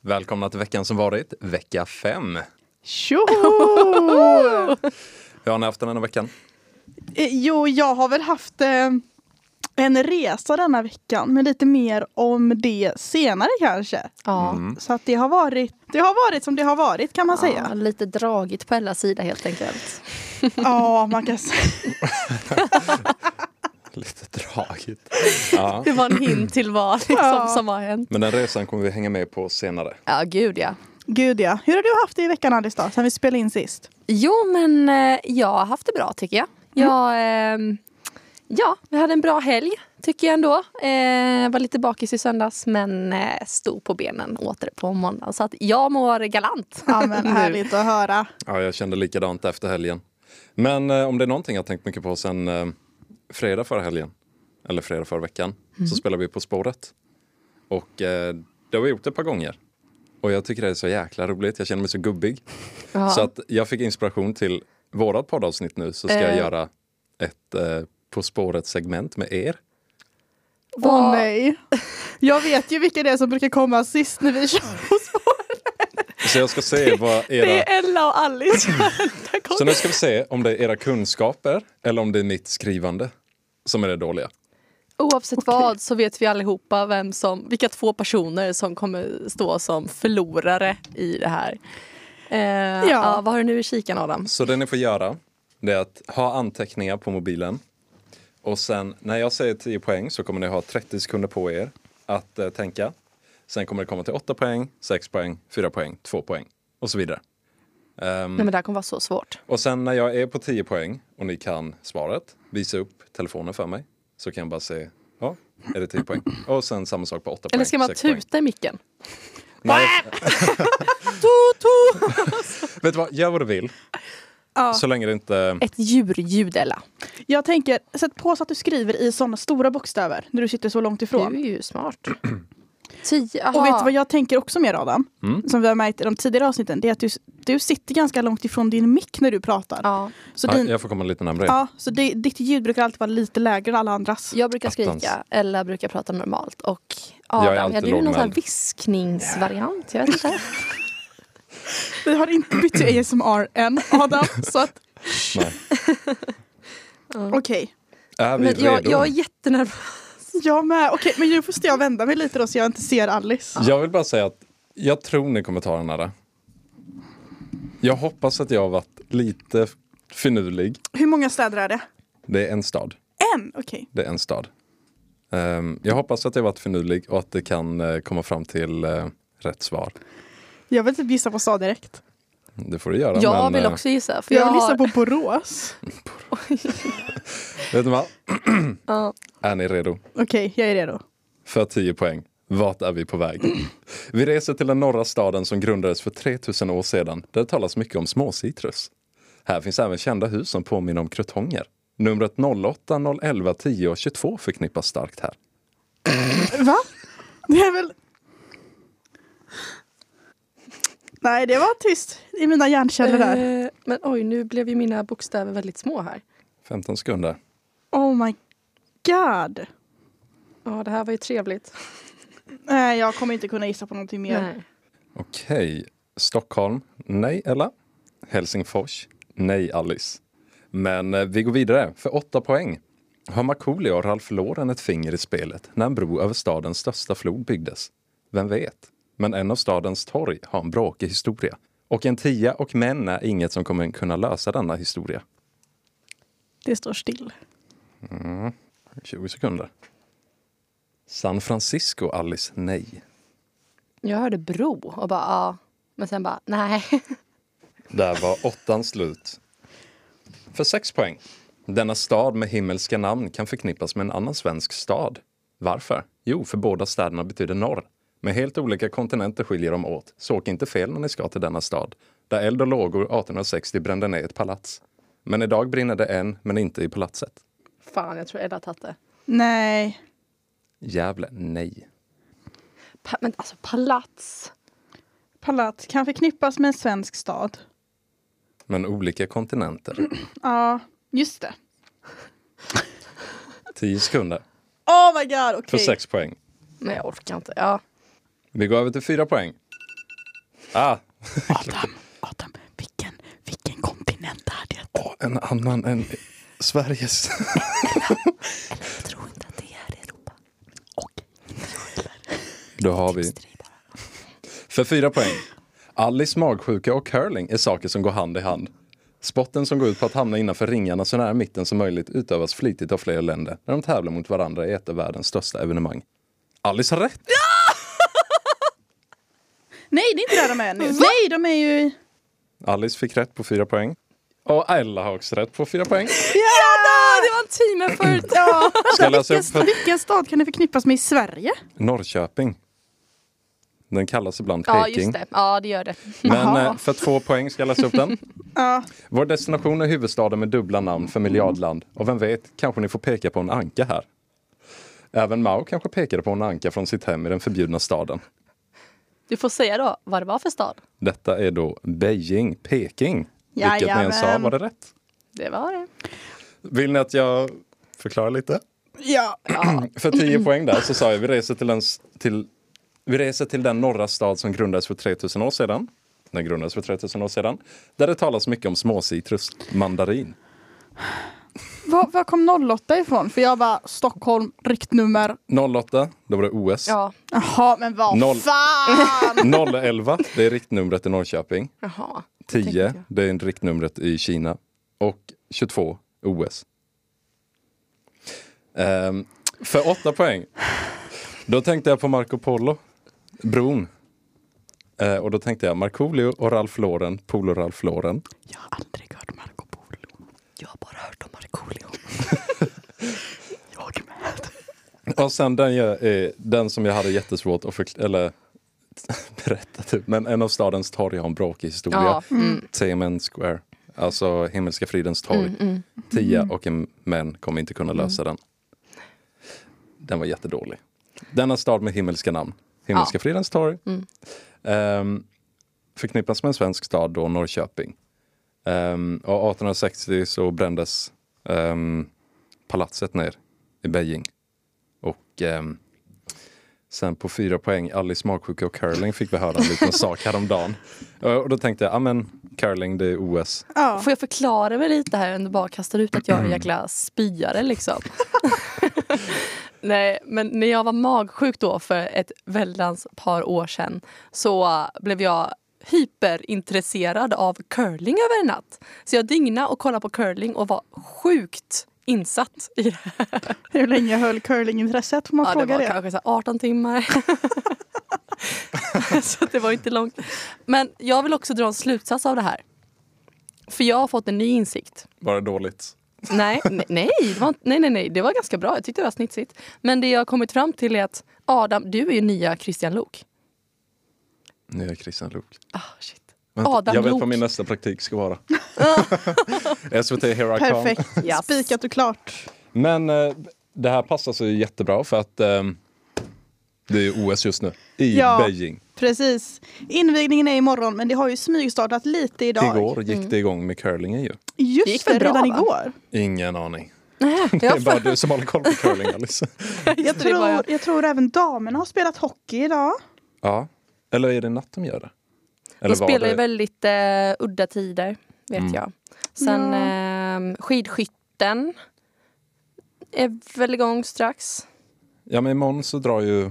Välkomna till veckan som varit, vecka 5. Tjo! Hur har ni haft den här veckan? Eh, Jo, jag har väl haft eh, en resa denna veckan, men lite mer om det senare kanske. Ja. Så att det har varit, det har varit som det har varit kan man Ja, säga. lite dragigt på alla sidor helt enkelt. Ja, man kan säga. Lite tragiskt. Ja. Det var en hint till vad liksom, Ja. som har hänt. Men den resan kommer vi hänga med på senare. Ja, gud ja. Gud ja. Hur har du haft det i veckan Alice då, sen vi spelade in sist? Jo, men eh, jag har haft det bra tycker jag. Jag, ehm, ja, jag hade en bra helg tycker jag ändå. Eh, var lite bakis i söndags men eh, stod på benen åter på måndagen. Så att jag mår galant. Ja, men härligt att höra. Ja, jag kände likadant efter helgen. Men eh, om det är någonting jag tänkt mycket på sen eh, fredag förra helgen, eller fredag förra veckan, Mm. så spelar vi På spåret. Och eh, det har vi gjort ett par gånger. Och jag tycker det är så jäkla roligt, jag känner mig så gubbig. Ja. Så att jag fick inspiration till vårat poddavsnitt nu så ska jag Eh. göra ett eh, På spåret-segment med er. Åh Vad- nej. Jag vet ju vilka det är som brukar komma sist när vi kör på spåret. Så jag ska se vad era... Det är Ella och Alice. Där kom- Så nu ska vi se om det är era kunskaper eller om det är mitt skrivande som är det dåliga. Oavsett vad så vet vi allihopa vem som, vilka två personer som kommer stå som förlorare i det här. Eh, ja. vad har du nu i kikan Adam? Så det ni får göra det är att ha anteckningar på mobilen och sen när jag säger 10 poäng så kommer ni ha 30 sekunder på er att eh, tänka. Sen kommer det komma till 8 poäng, 6 poäng, 4 poäng, 2 poäng och så vidare. Ehm, Nej men det här kommer vara så svårt. Och sen när jag är på 10 poäng och ni kan svaret, visa upp telefonen för mig så kan jag bara se, ja, är det 10 poäng? Och sen samma sak på 8 poäng. Eller ska man sex poäng. tuta i micken? Nej, Tutu! vet du vad, gör vad du vill. Ja. Så länge det inte... Ett djurljud Ella. Jag tänker, sätt på så att du skriver i sådana stora bokstäver när du sitter så långt Du ifrån. är ju smart. Tio, aha. Och vet du vad jag tänker också mer Adam? Mm. Som vi har märkt i de tidigare avsnitten. Det är att du, du sitter ganska långt ifrån din mick när du pratar. Ja, Så, Ja, din, ja, jag får komma lite närmare. så det, ditt ljud brukar alltid vara lite lägre än alla andras. jag brukar Attans. skrika, Ella brukar prata normalt och är Adam, alltid ja, du är någon sån här lågmäld. viskningsvariant. Jag vet inte. Vi har inte bytt till ASMR än Adam. så att, Nej. Mm. okej. Är vi Men jag, redo? jag är Jag... jättenervös. Jag med. Okej, men nu måste jag vända mig lite då så jag inte ser Alice. vill bara säga att jag tror ni kommer ta den här. Jag hoppas att jag har varit lite finurlig. Hur många städer är det? Det är en stad. En? Okej. Det är en stad. Ehm, jag hoppas att jag har varit finurlig och att det kan eh, komma fram till eh, rätt svar. Jag vill typ gissa på stad direkt. Det får du göra. Jag men, vill eh, också gissa. För Jag, jag vill gissa har... på Borås. Vet du vad? Ja. Är ni redo? Okej, jag är redo. För 10 poäng. Vart är vi på väg? Vi reser till den norra staden som grundades för 3000 år sedan där det talas mycket om småcitrus. Här finns även kända hus som påminner om krutonger. Numret 08, 011, 10 och 22 förknippas starkt här. Va? Det är väl... Nej, det var tyst i mina hjärnceller där. Eh, Men oj, nu blev ju mina bokstäver väldigt små här. 15 sekunder. Oh my god. Ja, det här var ju trevligt. Nej, jag kommer inte kunna gissa på någonting mer. Nej. Okej. Stockholm. Nej, Ella. Helsingfors. Nej, Alice. Men eh, vi går vidare för 8 poäng. Har Markoolio och Ralph Lauren ett finger i spelet när en bro över stadens största flod byggdes? Vem vet? Men en av stadens torg har en bråkig historia. Och en tia och män är inget som kommer kunna lösa denna historia. Det står still. 20 sekunder. San Francisco, Alice. Nej. Jag hörde bro och bara ja. Men sen bara nej. Där var åttan slut. För sex poäng. Denna stad med himmelska namn kan förknippas med en annan svensk stad. Varför? Jo, för båda städerna betyder norr. Med helt olika kontinenter skiljer de åt, så åk inte fel när ni ska till denna stad. Där eld och lågor 1860 brände ner ett palats. Men idag brinner det än, men inte i palatset. Fan, jag tror Ella har tagit det. Nej. Gävle, nej. Pa- men alltså palats. Palat kan förknippas med en svensk stad. Men olika kontinenter. Ja, just det. Tio sekunder. Oh my god, okej. För sex poäng. Nej, jag orkar inte. Ja. Vi går över till fyra poäng. Ah, Adam, Adam, vilken, vilken kontinent är det? åh, en annan än Sveriges. Jag tror inte att det är Europa. Okej. Då har vi. För fyra poäng. Alice magsjuka och curling är saker som går hand i hand. Spotten som går ut på att hamna innanför ringarna så nära mitten som möjligt utövas flitigt av flera länder när de tävlar mot varandra i ett av världens största evenemang. Alice har rätt! Nej, det är inte där de är nu. Nej, de är ju... i- Alice fick rätt på fyra poäng. Och Ella har också rätt på fyra poäng. Ja, då, det var en team effort! Ja. Ska jag läsa upp Vilken, vilken stad kan det förknippas med i Sverige? Norrköping. Den kallas ibland Ja, Peking. just det. Ja, det gör det. Men Jaha. eh, för två poäng ska jag läsa upp den. Ja. Vår destination är huvudstaden med dubbla namn för miljardland. Och vem vet, kanske ni får peka på en anka här. Även Mao kanske pekade på en anka från sitt hem i den förbjudna staden. Du får säga då vad det var för stad. Detta är då Beijing, Peking. Vilket ni än sa Jajamän. var det rätt. Det var det. Vill ni att jag förklarar lite? Ja. För 10 poäng där så sa jag vi reser till, en, s- till, vi reser till den norra stad som grundades för 3000 år sedan. Den grundades för 3000 år sedan. Där det talas mycket om småcitrus, mandarin. Var, var kom 08 ifrån? För jag var Stockholm, riktnummer. 08, då var det OS. Ja. Jaha, men vad Noll. fan! 011, det är riktnumret i Norrköping. Jaha. 10, det är riktnumret i Kina. Och 22, OS. Ehm, för 8 poäng. Då tänkte jag på Marco Polo, bron. Eh, och då tänkte jag Markoolio och Ralph Lauren, Polo Ralph Lauren. Jag har aldrig hört Marco Polo. Jag har bara hört om Markoolio. Jag med. Och sen den, jag, eh, den som jag hade jättesvårt att förkl- eller, berätta typ. Men en av stadens torg har en bråkig historia. Ja. Mm. Tiananmen Square. Alltså Himmelska fridens torg. Mm. Tia och en män kommer inte kunna lösa den. Den var jättedålig. Denna stad med himmelska namn. Himmelska fridens torg. Ehm, förknippas med en svensk stad då, Norrköping. Ehm, och 1860 så brändes ehm, palatset ner i Beijing. Och ehm, sen på fyra poäng, Alice magsjuka och curling fick vi höra en liten sak häromdagen. Eh, Och då tänkte jag, ja men curling det är OS. Ja. Får jag förklara mig lite här om du bara kastar ut att jag är en jäkla spyare liksom? Nej, men när jag var magsjuk då för ett väldans par år sedan så äh, blev jag hyperintresserad av curling över en natt. Så jag dygnade och kollade på curling och var sjukt insatt i det här. Hur länge höll curlingintresset? Får man Ja, det fråga var det? kanske så här 18 timmar. så det var inte långt. Men jag vill också dra en slutsats av det här. För jag har fått en ny insikt. Var det dåligt? Nej, ne- nej, det var, inte- nej, nej, nej, det var ganska bra. Jag tyckte det var snitsigt. Men det jag har kommit fram till är att Adam, du är ju nya Christian Lok. Nu är jag Christian Luuk. Ah, shit. Vänta, Adam jag vet Lok. vad min nästa praktik ska vara. SVT Here I Come. Perfekt. Japp. Spikat och klart. Men eh, det här passar sig jättebra för att ehm, det är ju OS just nu i Ja. Beijing. Precis. Invigningen är imorgon men det har ju smygstartat lite idag. Igår Mm. gick det igång med curlingen ju. Just Det gick det, väl bra, redan va? igår. Ingen aning. Det Ja, är bara du som håller koll på curling Alice. Jag det är bara tror, jag tror även damerna har spelat hockey idag. Ja. Eller är det natt de gör det? de Eller Mm. var spelar ju det... väldigt eh, udda tider, vet jag. Sen eh, skidskytten är väl igång strax. Ja men imorgon så drar ju...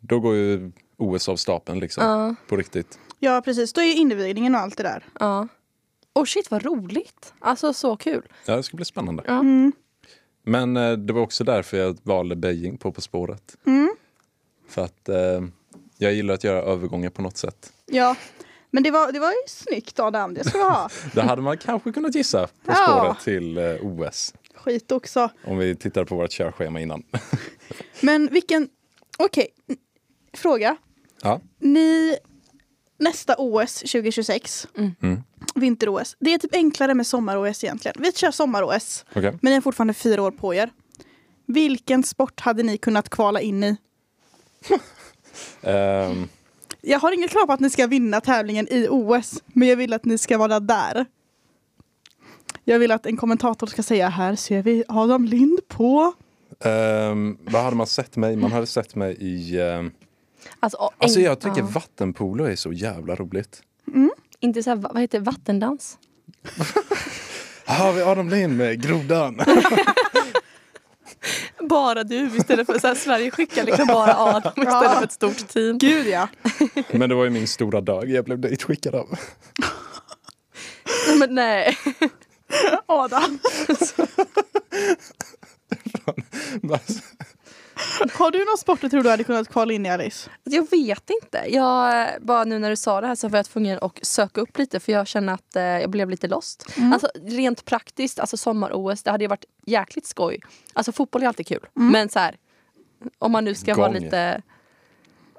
Då går ju OS av stapeln liksom. Ja. På riktigt. Ja precis, då är ju invigningen och allt det där. Ja. Och shit vad roligt! Alltså så kul. Ja, det ska bli spännande. Ja. Mm. Men eh, det var också därför jag valde Beijing på På spåret. För att eh, jag gillar att göra övergångar på något sätt. Ja. Men det var, det var ju snyggt Adam, det ska vi ha. Det hade man kanske kunnat gissa På Ja. spåret till eh, OS. Skit också. Om vi tittar på vårt körschema innan. Men vilken... Okej, n- fråga. ja. Ni... Nästa OS 2026, Mm. vinter-OS, det är typ enklare med sommar-OS egentligen. Vi kör sommar-OS, Okej. men ni har fortfarande fyra år på er. Vilken sport hade ni kunnat kvala in i? Ehm, Jag har inget krav på att ni ska vinna tävlingen i OS, men jag vill att ni ska vara där. Jag vill att en kommentator ska säga här ser vi Adam Lind på. ehm, vad hade man sett mig? Man hade sett mig i... ehm, Alltså, och- Alltså en- jag tycker ja. vattenpolo är så jävla roligt. Inte så här, vad heter det, vattendans? Här har vi Adam Lind med grodan. Bara du istället för så här, Sverige skickar liksom bara Adam istället för ett stort team. Gud ja. Men det var ju min stora dag jag blev ditskickad av. Men nej. Alltså, Adam, har du någon sport du tror du hade kunnat kvala in i Alice? Jag vet inte. Jag, eh, bara nu när du sa det här så var jag tvungen att söka upp lite för jag känner att eh, jag blev lite lost. Alltså, rent praktiskt, alltså sommar-OS, det hade ju varit jäkligt skoj. Alltså fotboll är alltid kul. Men så här, om man nu ska vara Gång. lite...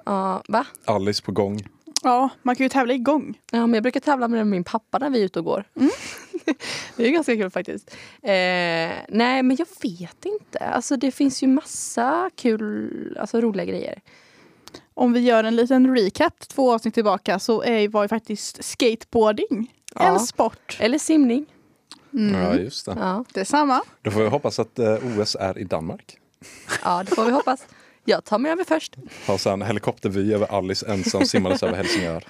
Ja, va? Alice på gång. Ja, man kan ju tävla igång. Ja, men jag brukar tävla med min pappa när vi är ute och går. det är ganska kul faktiskt. Eh, nej, men jag vet inte. Alltså, det finns ju massa kul, alltså roliga grejer. Om vi gör en liten recap två avsnitt tillbaka så är, var ju faktiskt skateboarding Ja. en sport. Eller simning. Ja, just det. Ja. Detsamma. Då får vi hoppas att eh, OS är i Danmark. ja, det får vi hoppas. Jag tar mig över först. Har sen helikoptervy över Alice ensam simmandes över Helsingör.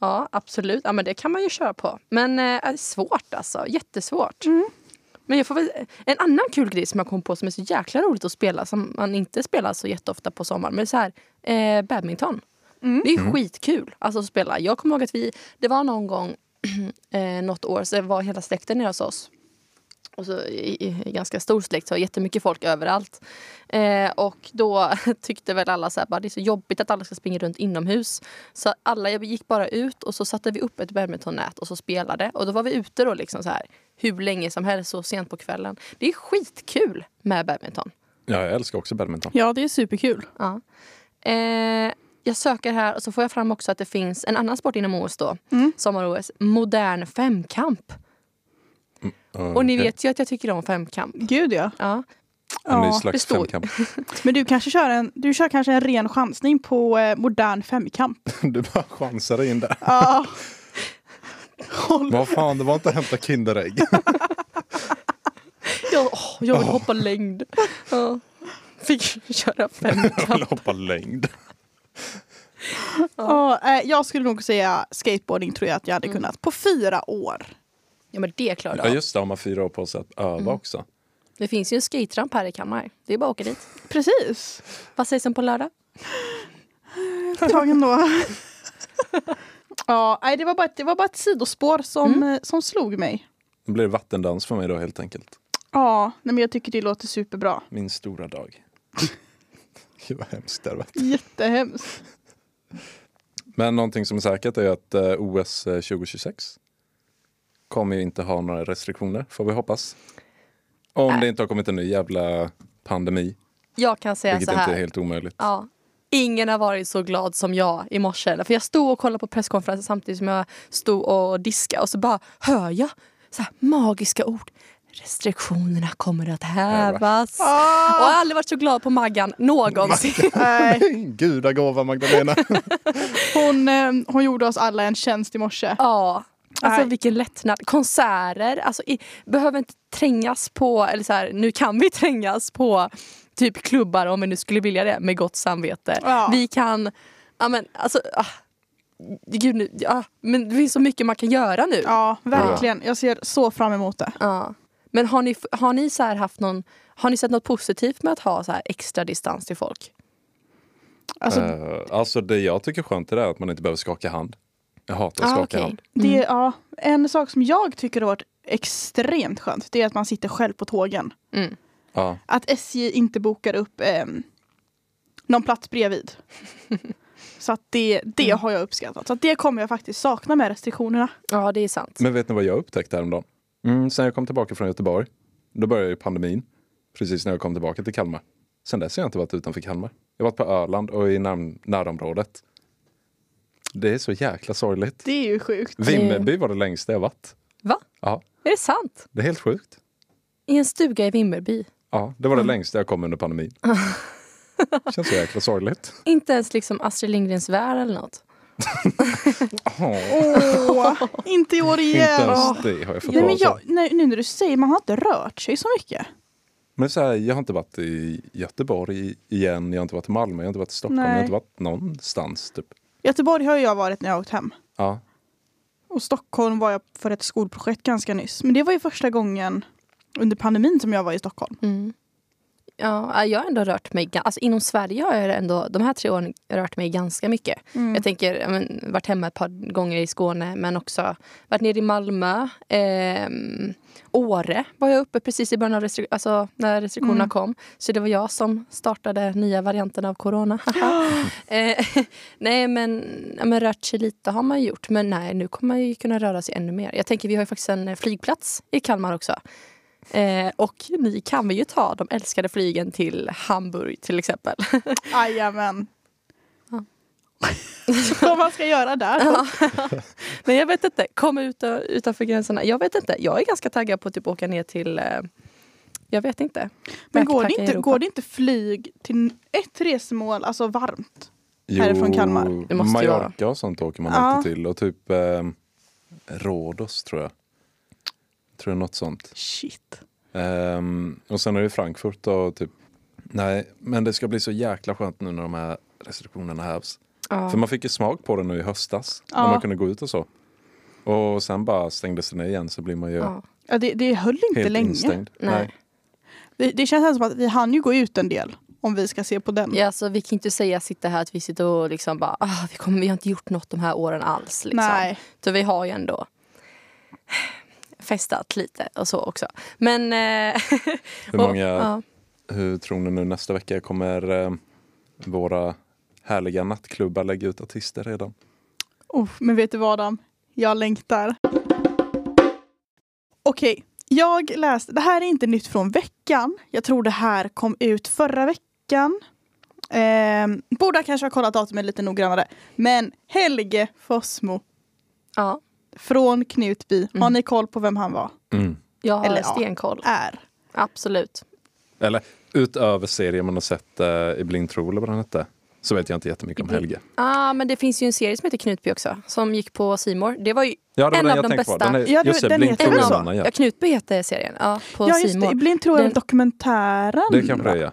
Ja, absolut. Ja, men det kan man ju köra på. Men eh, det är svårt alltså. Jättesvårt. Men jag får väl, en annan kul grej som jag kom på som är så jäkla roligt att spela som man inte spelar så jätteofta på sommaren. Men så här, eh, badminton. Det är skitkul alltså, att spela. Jag kommer ihåg att vi, det var någon gång eh, något år så var hela släkten nere hos oss. Och så i, i, i ganska stor släkt så har jättemycket folk överallt. Eh, och då tyckte väl alla så här, bara, det är så jobbigt att alla ska springa runt inomhus. Så alla jag gick bara ut och så satte vi upp ett badmintonnät och så spelade. Och då var vi ute då liksom så här hur länge som helst, så sent på kvällen. Det är skitkul med badminton. Ja, jag älskar också badminton. Ja, det är superkul. Ja. Eh, jag söker här och så får jag fram också att det finns en annan sport inom OS då. Sommar-OS. Modern femkamp. Och ni Okej. vet ju att jag tycker om femkamp. Gud ja. Ja. En ny Ja, slags det står- femkamp. Men du kanske kör en, du kör kanske en ren chansning på eh, modern femkamp. Du bara chansade in där. Ja. Håll. Vad fan, det var inte att hämta Kinderägg. Jag, åh, jag vill hoppa längd. Ja. Fick köra femkamp. Jag vill hoppa längd. Ja, Mm. eh, jag skulle nog säga skateboarding tror jag att jag hade kunnat på fyra år. Ja Mm. men det klarar Ja, jag. just det, har man fyra år på sig att öva också. Det finns ju en skateramp här i Kalmar. Det är bara att åka dit. Precis. Vad sägs om på lördag? Tagen då. ja, nej, det, var bara ett, det var bara ett sidospår som, eh, som slog mig. Då blir det vattendans för mig då helt enkelt. Ja, nej, men jag tycker det låter superbra. Min stora dag. Gud vad hemskt det hade varit. Jättehemskt. Men någonting som är säkert är att eh, OS eh, 2026 kommer ju inte ha några restriktioner, får vi hoppas. Om Nej. det inte har kommit en ny jävla pandemi, Jag kan säga vilket så här. inte är helt omöjligt. Ja. Ingen har varit så glad som jag i morse. För jag stod och kollade på presskonferensen samtidigt som jag stod och diskade och så bara hör jag så här magiska ord. Restriktionerna kommer att hävas. Och jag har aldrig varit så glad på Maggan någonsin. Nej, Gudagåva Magdalena! hon, eh, hon gjorde oss alla en tjänst i morse. Ja. Alltså Nej. vilken lättnad. Konserter, alltså, i, behöver inte trängas på, eller så här, nu kan vi trängas på typ klubbar om vi nu skulle vilja det med gott samvete. Ja. Vi kan, ja men alltså, ah, gud nu, ah, men det finns så mycket man kan göra nu. Ja, verkligen. Jag ser så fram emot det. Ja. Men har ni, har ni så här haft någon, har ni sett något positivt med att ha så här extra distans till folk? Alltså, Eh, alltså det jag tycker är skönt är det att man inte behöver skaka hand. Jag hatar att Ah, skaka okej. hand. Det, ja, en sak som jag tycker har varit extremt skönt det är att man sitter själv på tågen. Mm. Ja. Att SJ inte bokar upp eh, någon plats bredvid. Så att det, det har jag uppskattat. Så att det kommer jag faktiskt sakna med restriktionerna. Ja det är sant. Men vet ni vad jag upptäckte häromdagen? Mm, sen jag kom tillbaka från Göteborg, då började ju pandemin. Precis när jag kom tillbaka till Kalmar. Sen dess har jag inte varit utanför Kalmar. Jag har varit på Öland och i när- närområdet. Det är så jäkla sorgligt. Det är ju sjukt. Vimmerby var det längsta jag varit. Va? Ja, Är det sant? det är helt sjukt. I en stuga i Vimmerby? Ja, det var det längsta jag kom under pandemin. Känns så jäkla sorgligt. Inte ens liksom Astrid Lindgrens värld eller något? Åh, inte i år Inte igen. ens Åh. det har jag fått Nej, men vara jag, på. nej, nu när du säger man har inte rört sig så mycket. Men så här, jag har inte varit i Göteborg i- igen, jag har inte varit i Malmö, jag har inte varit i Stockholm, jag har Nej. inte varit någonstans. Typ. Göteborg har jag varit när jag har åkt hem. Ja. Och Stockholm var jag för ett skolprojekt ganska nyss. Men det var ju första gången under pandemin som jag var i Stockholm. Mm. Ja, jag har ändå rört mig, ga- alltså inom Sverige har jag ändå de här tre åren rört mig ganska mycket. Mm. Jag tänker, jag men, varit hemma ett par gånger i Skåne men också varit nere i Malmö. Ehm, Åre var jag uppe precis i början av restriktionerna, alltså när restriktionerna Mm. kom. Så det var jag som startade nya varianten av corona. eh, nej men, ja, men rört sig lite har man gjort men nej nu kommer man ju kunna röra sig ännu mer. Jag tänker vi har ju faktiskt en eh, flygplats i Kalmar också. Eh, och ni kan väl ju ta de älskade flygen till Hamburg till exempel. Jajamän. Ja. Vad man ska göra där. Men jag vet inte, kom ut utanför gränserna. Jag vet inte, jag är ganska taggad på att typ åka ner till eh, jag vet inte. Men går det, Backpacka i inte, Europa. går det inte flyg till ett resmål, alltså varmt? Härifrån Kalmar. Det måste ju vara. Mallorca och sånt åker man Ja. alltid till och typ eh, Rhodos tror jag. Tror jag något sånt. Shit. Ehm, och sen är det Frankfurt och typ Nej, men det ska bli så jäkla skönt nu när de här restriktionerna hävs. Ja. För man fick ju smak på det nu i höstas när Ja. man kunde gå ut och så. Och sen bara stängdes det ner igen så blir man ju Ja. Ja, det, det höll inte helt länge. instängd. Nej. Det, det känns som att vi hann ju gå ut en del om vi ska se på den. Ja, alltså, vi kan inte säga sitta här att vi sitter och liksom bara, ah, vi, kommer, vi har inte gjort något de här åren alls. Liksom. Nej. Så vi har ju ändå festat lite och så också. Men... Eh, Hur, och- många, ja. hur tror ni nu nästa vecka kommer eh, våra härliga nattklubbar lägga ut artister redan? Oh, men vet du vad Adam? Jag längtar. Okej, jag läste, det här är inte nytt från veckan. Jag tror det här kom ut förra veckan. Ehm, borde kanske ha kollat datumet lite noggrannare. Men Helge Fossmo ja, från Knutby, har Mm. ni koll på vem han var? jag har Eller ja. stenkoll. Är. Absolut. Eller utöver serien man har sett eh, i Blind Tro eller vad den hette. Så vet jag inte jättemycket om Helge. Ah, men det finns ju en serie som heter Knutby också, som gick på Simor. Det var ju Ja, det var En den av jag de tänkte på. bästa. Den är, Ja, det- just det, den Blind heter Tro väl en är av en så? annan, ja. Ja, Knutby heter serien. Ja, på Ja just det, Simor. ibland tror jag Den- dokumentären. Det kanske det är, ja.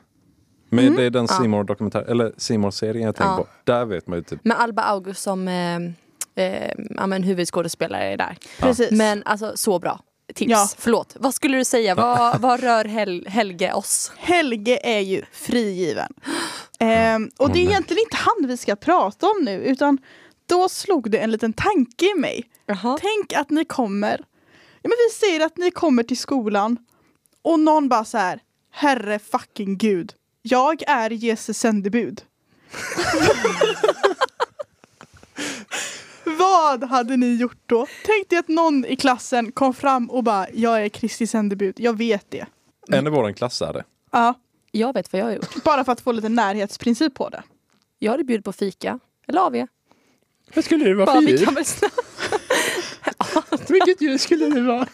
Men det är den Ja. Simor dokumentär eller Simor serien jag tänker Ja. på. Där vet man ju typ. Med Alba August som eh, eh, ja, men huvudskådespelare där. Precis. Men alltså så bra. Tips. Ja. Förlåt. Vad skulle du säga? Vad, vad rör Hel- Helge oss? Helge är ju frigiven. Ehm, och det är nej. egentligen inte han vi ska prata om nu utan då slog det en liten tanke i mig. Tänk att ni kommer, ja, men vi säger att ni kommer till skolan och någon bara så här, herre fucking gud, jag är Jesus sändebud. Vad hade ni gjort då? Tänk dig att någon i klassen kom fram och bara, jag är Kristi sändebud, jag vet det. En i våran klass är det. Ja, Jag vet vad jag har gjort. bara för att få lite närhetsprincip på det. Jag hade bjudit på fika. Eller AW. Vad skulle du vara Bara, vi kan väl snabbt. Vilket djur skulle du vara?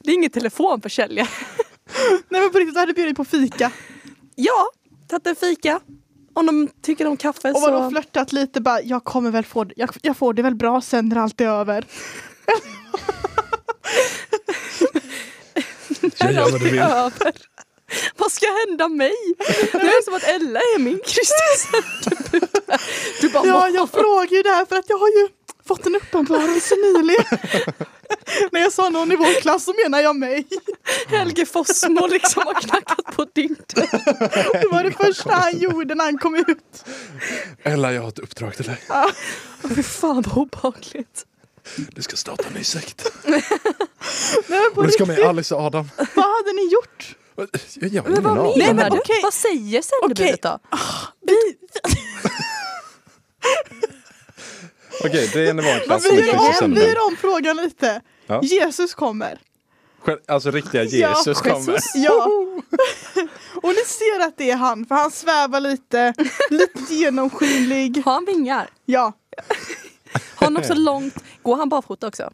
Det är ingen telefonförsäljare. Nej men på riktigt, jag hade bjudit på fika. Ja, tagit en fika. Om de tycker om kaffe Och vadå så... flörtat lite bara, jag kommer väl få det, jag, jag får det väl bra sen när allt är över. Jag gör vad du vill. över. Vad ska hända mig? Det är som att Ella är min Kristus. Du bara, Ja, jag frågar ju det här för att jag har ju fått en uppenbarelse nyligen. när jag sa någon i vår klass så menar jag mig. Helge Fossmo liksom har knackat på din dörr. Det var det första han gjorde när han kom ut. Ella, jag har ett uppdrag till dig. Åh, Fy fan vad obehagligt. Du ska starta en ny sekt. Nej men på Och du ska riktigt, med Alice och Adam. vad hade ni gjort? Jag har Men ingen vad menar aning. Nej, Nej, men men du? okej. Vad säger sändebudet då? Vi, Okej, Alltså, det är en i våran klass. som är vi, Kristi gör om, vi sändebud. gör om frågan lite. Ja. Jesus kommer. Själv- Alltså riktiga Jesus ja, kommer. Ja. Och ni ser att det är han, för han svävar lite, lite genomskinlig. Har han vingar? Ja, Har han också långt? Går han barfota också?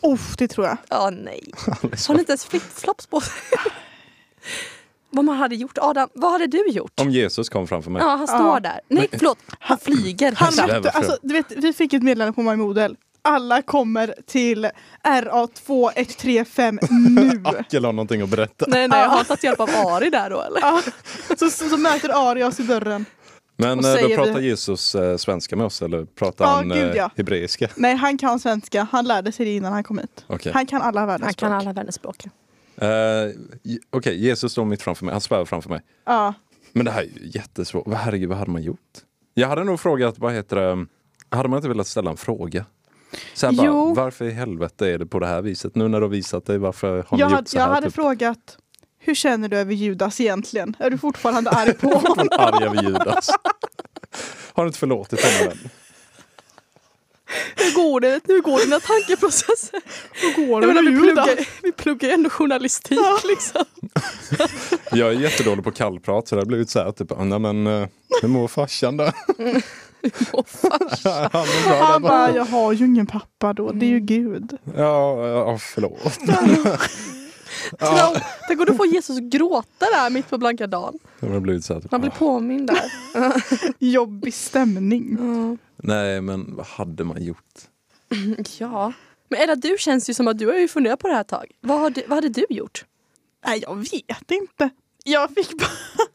oh, det tror jag. Ja, nej. Alice. Har han inte ens flipflops på sig? Vad man hade gjort? Adam, vad hade du gjort? Om Jesus kom framför mig. Ja, han står Ja. där. Nej, förlåt. Han flyger. Han Jävlar, mötte, vad alltså, du vet, vi fick ett meddelande på My Model. alla kommer till RA2135 nu. Ackel har någonting att berätta. Nej, nej, har jag tagit hjälp av Ari där då eller? Ja. Så, så, så möter Ari oss i dörren. Men Och eh, då säger pratar vi- Jesus eh, svenska med oss eller pratar Ja, han gud, eh, ja. hebreiska? Nej, han kan svenska. Han lärde sig det innan han kom hit. Okej, Han kan alla världens Han språk. kan alla världens språk. Eh, j- okej, Jesus står mitt framför mig, han svävar framför mig. Ja. Men det här är ju jättesvårt. Vad, herregud, vad hade man gjort? Jag hade nog frågat, vad heter det, hade man inte velat ställa en fråga? Så här bara, Jo. varför i helvete är det på det här viset? Nu när du har visat dig, varför har ni Jag, gjort hade, så jag här? hade typ? frågat, hur känner du över Judas egentligen? Är du fortfarande arg på honom? Arg över Judas. Har du inte förlåtit honom än? Hur går det? Hur går dina tankeprocesser? Hur går Jag menar, med vi, Judas? pluggar, vi pluggar ju ändå journalistik liksom. Jag är jättedålig på kallprat så det har blivit så här typ, nej men eh, hur mår farsan då? Han mår bra. Han bara, jag har ju ingen pappa då, det är ju Gud. Ja, ja, förlåt. Ja. Tänk om du får Jesus att gråta där mitt på blanka dagen. Det har blivit så här, typ, Han blir "Ah, påmind där. Jobbig stämning. Nej men vad hade man gjort? Ja. Men Edda, du känns ju som att du har ju funderat på det här ett tag. Vad, har du, vad hade du gjort? Nej, jag vet inte. Jag fick bara...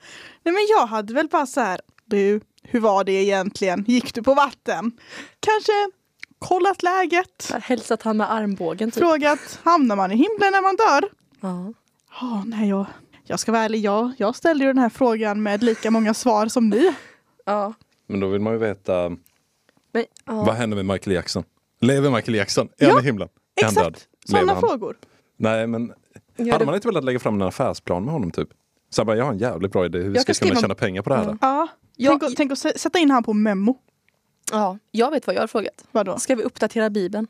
Nej, men jag hade väl bara så här, du, hur var det egentligen? Gick du på vatten? Kanske kollat läget? Hälsat han med armbågen typ? Frågat, hamnar man i himlen när man dör? Ja. Ja, nej, jag, jag ska vara ärlig, jag, jag ställde ju den här frågan med lika många svar som ni. ja. Men då vill man ju veta, Men, ja. vad händer med Michael Jackson? Lever Michael Jackson? Är han i himlen? Är han död? Exakt, Lever sådana han? frågor. Nej men, Ja, hade det- man inte velat lägga fram en affärsplan med honom typ? Så här bara, jag har en jävligt bra idé hur vi Jag ska kan kunna skriva- tjäna pengar på det här. Ja. Ja, Jag- tänk, att- tänk att sä- sätta in han på memo. ja. Jag vet vad jag har frågat. Vadå? Ska vi uppdatera Bibeln?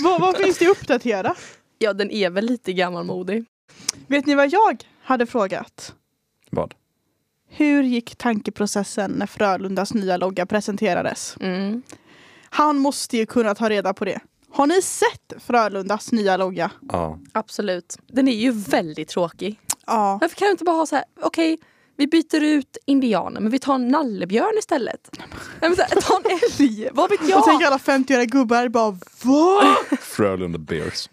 Vad, vad finns det att uppdatera? Ja, den är väl lite gammalmodig. Vet ni vad jag hade frågat? vad? Hur gick tankeprocessen när Frölundas nya logga presenterades? Mm. Han måste ju kunna ta reda på det. Har ni sett Frölundas nya logga? Ja. Absolut. Den är ju väldigt tråkig. Ja. Varför kan du inte bara ha så här, okej, vi byter ut indianer men vi tar en nallebjörn istället. Nej, men så här, ta en älg, vad vet Och tänk jag? alla 50-åriga gubbar bara va? Frölunda Bears.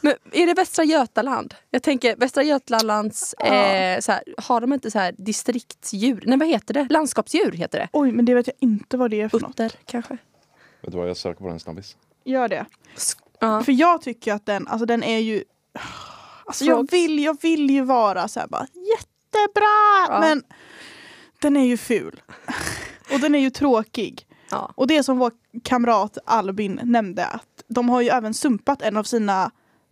Men är det Västra Götaland? Jag tänker Västra Götalands, eh, så här, har de inte så här distriktsdjur? Nej vad heter det? Landskapsdjur heter det. Oj, men det vet jag inte vad det är för något. Utter kanske? Vet du vad, jag söker på den snabbis. Gör det. Ja. För jag tycker att den, alltså den är ju... Alltså jag vill, jag vill ju vara så här bara jättebra! Ja. Men den är ju ful. Och den är ju tråkig. Ja. Och det är som vår kamrat Albin nämnde att de har ju även sumpat en av sina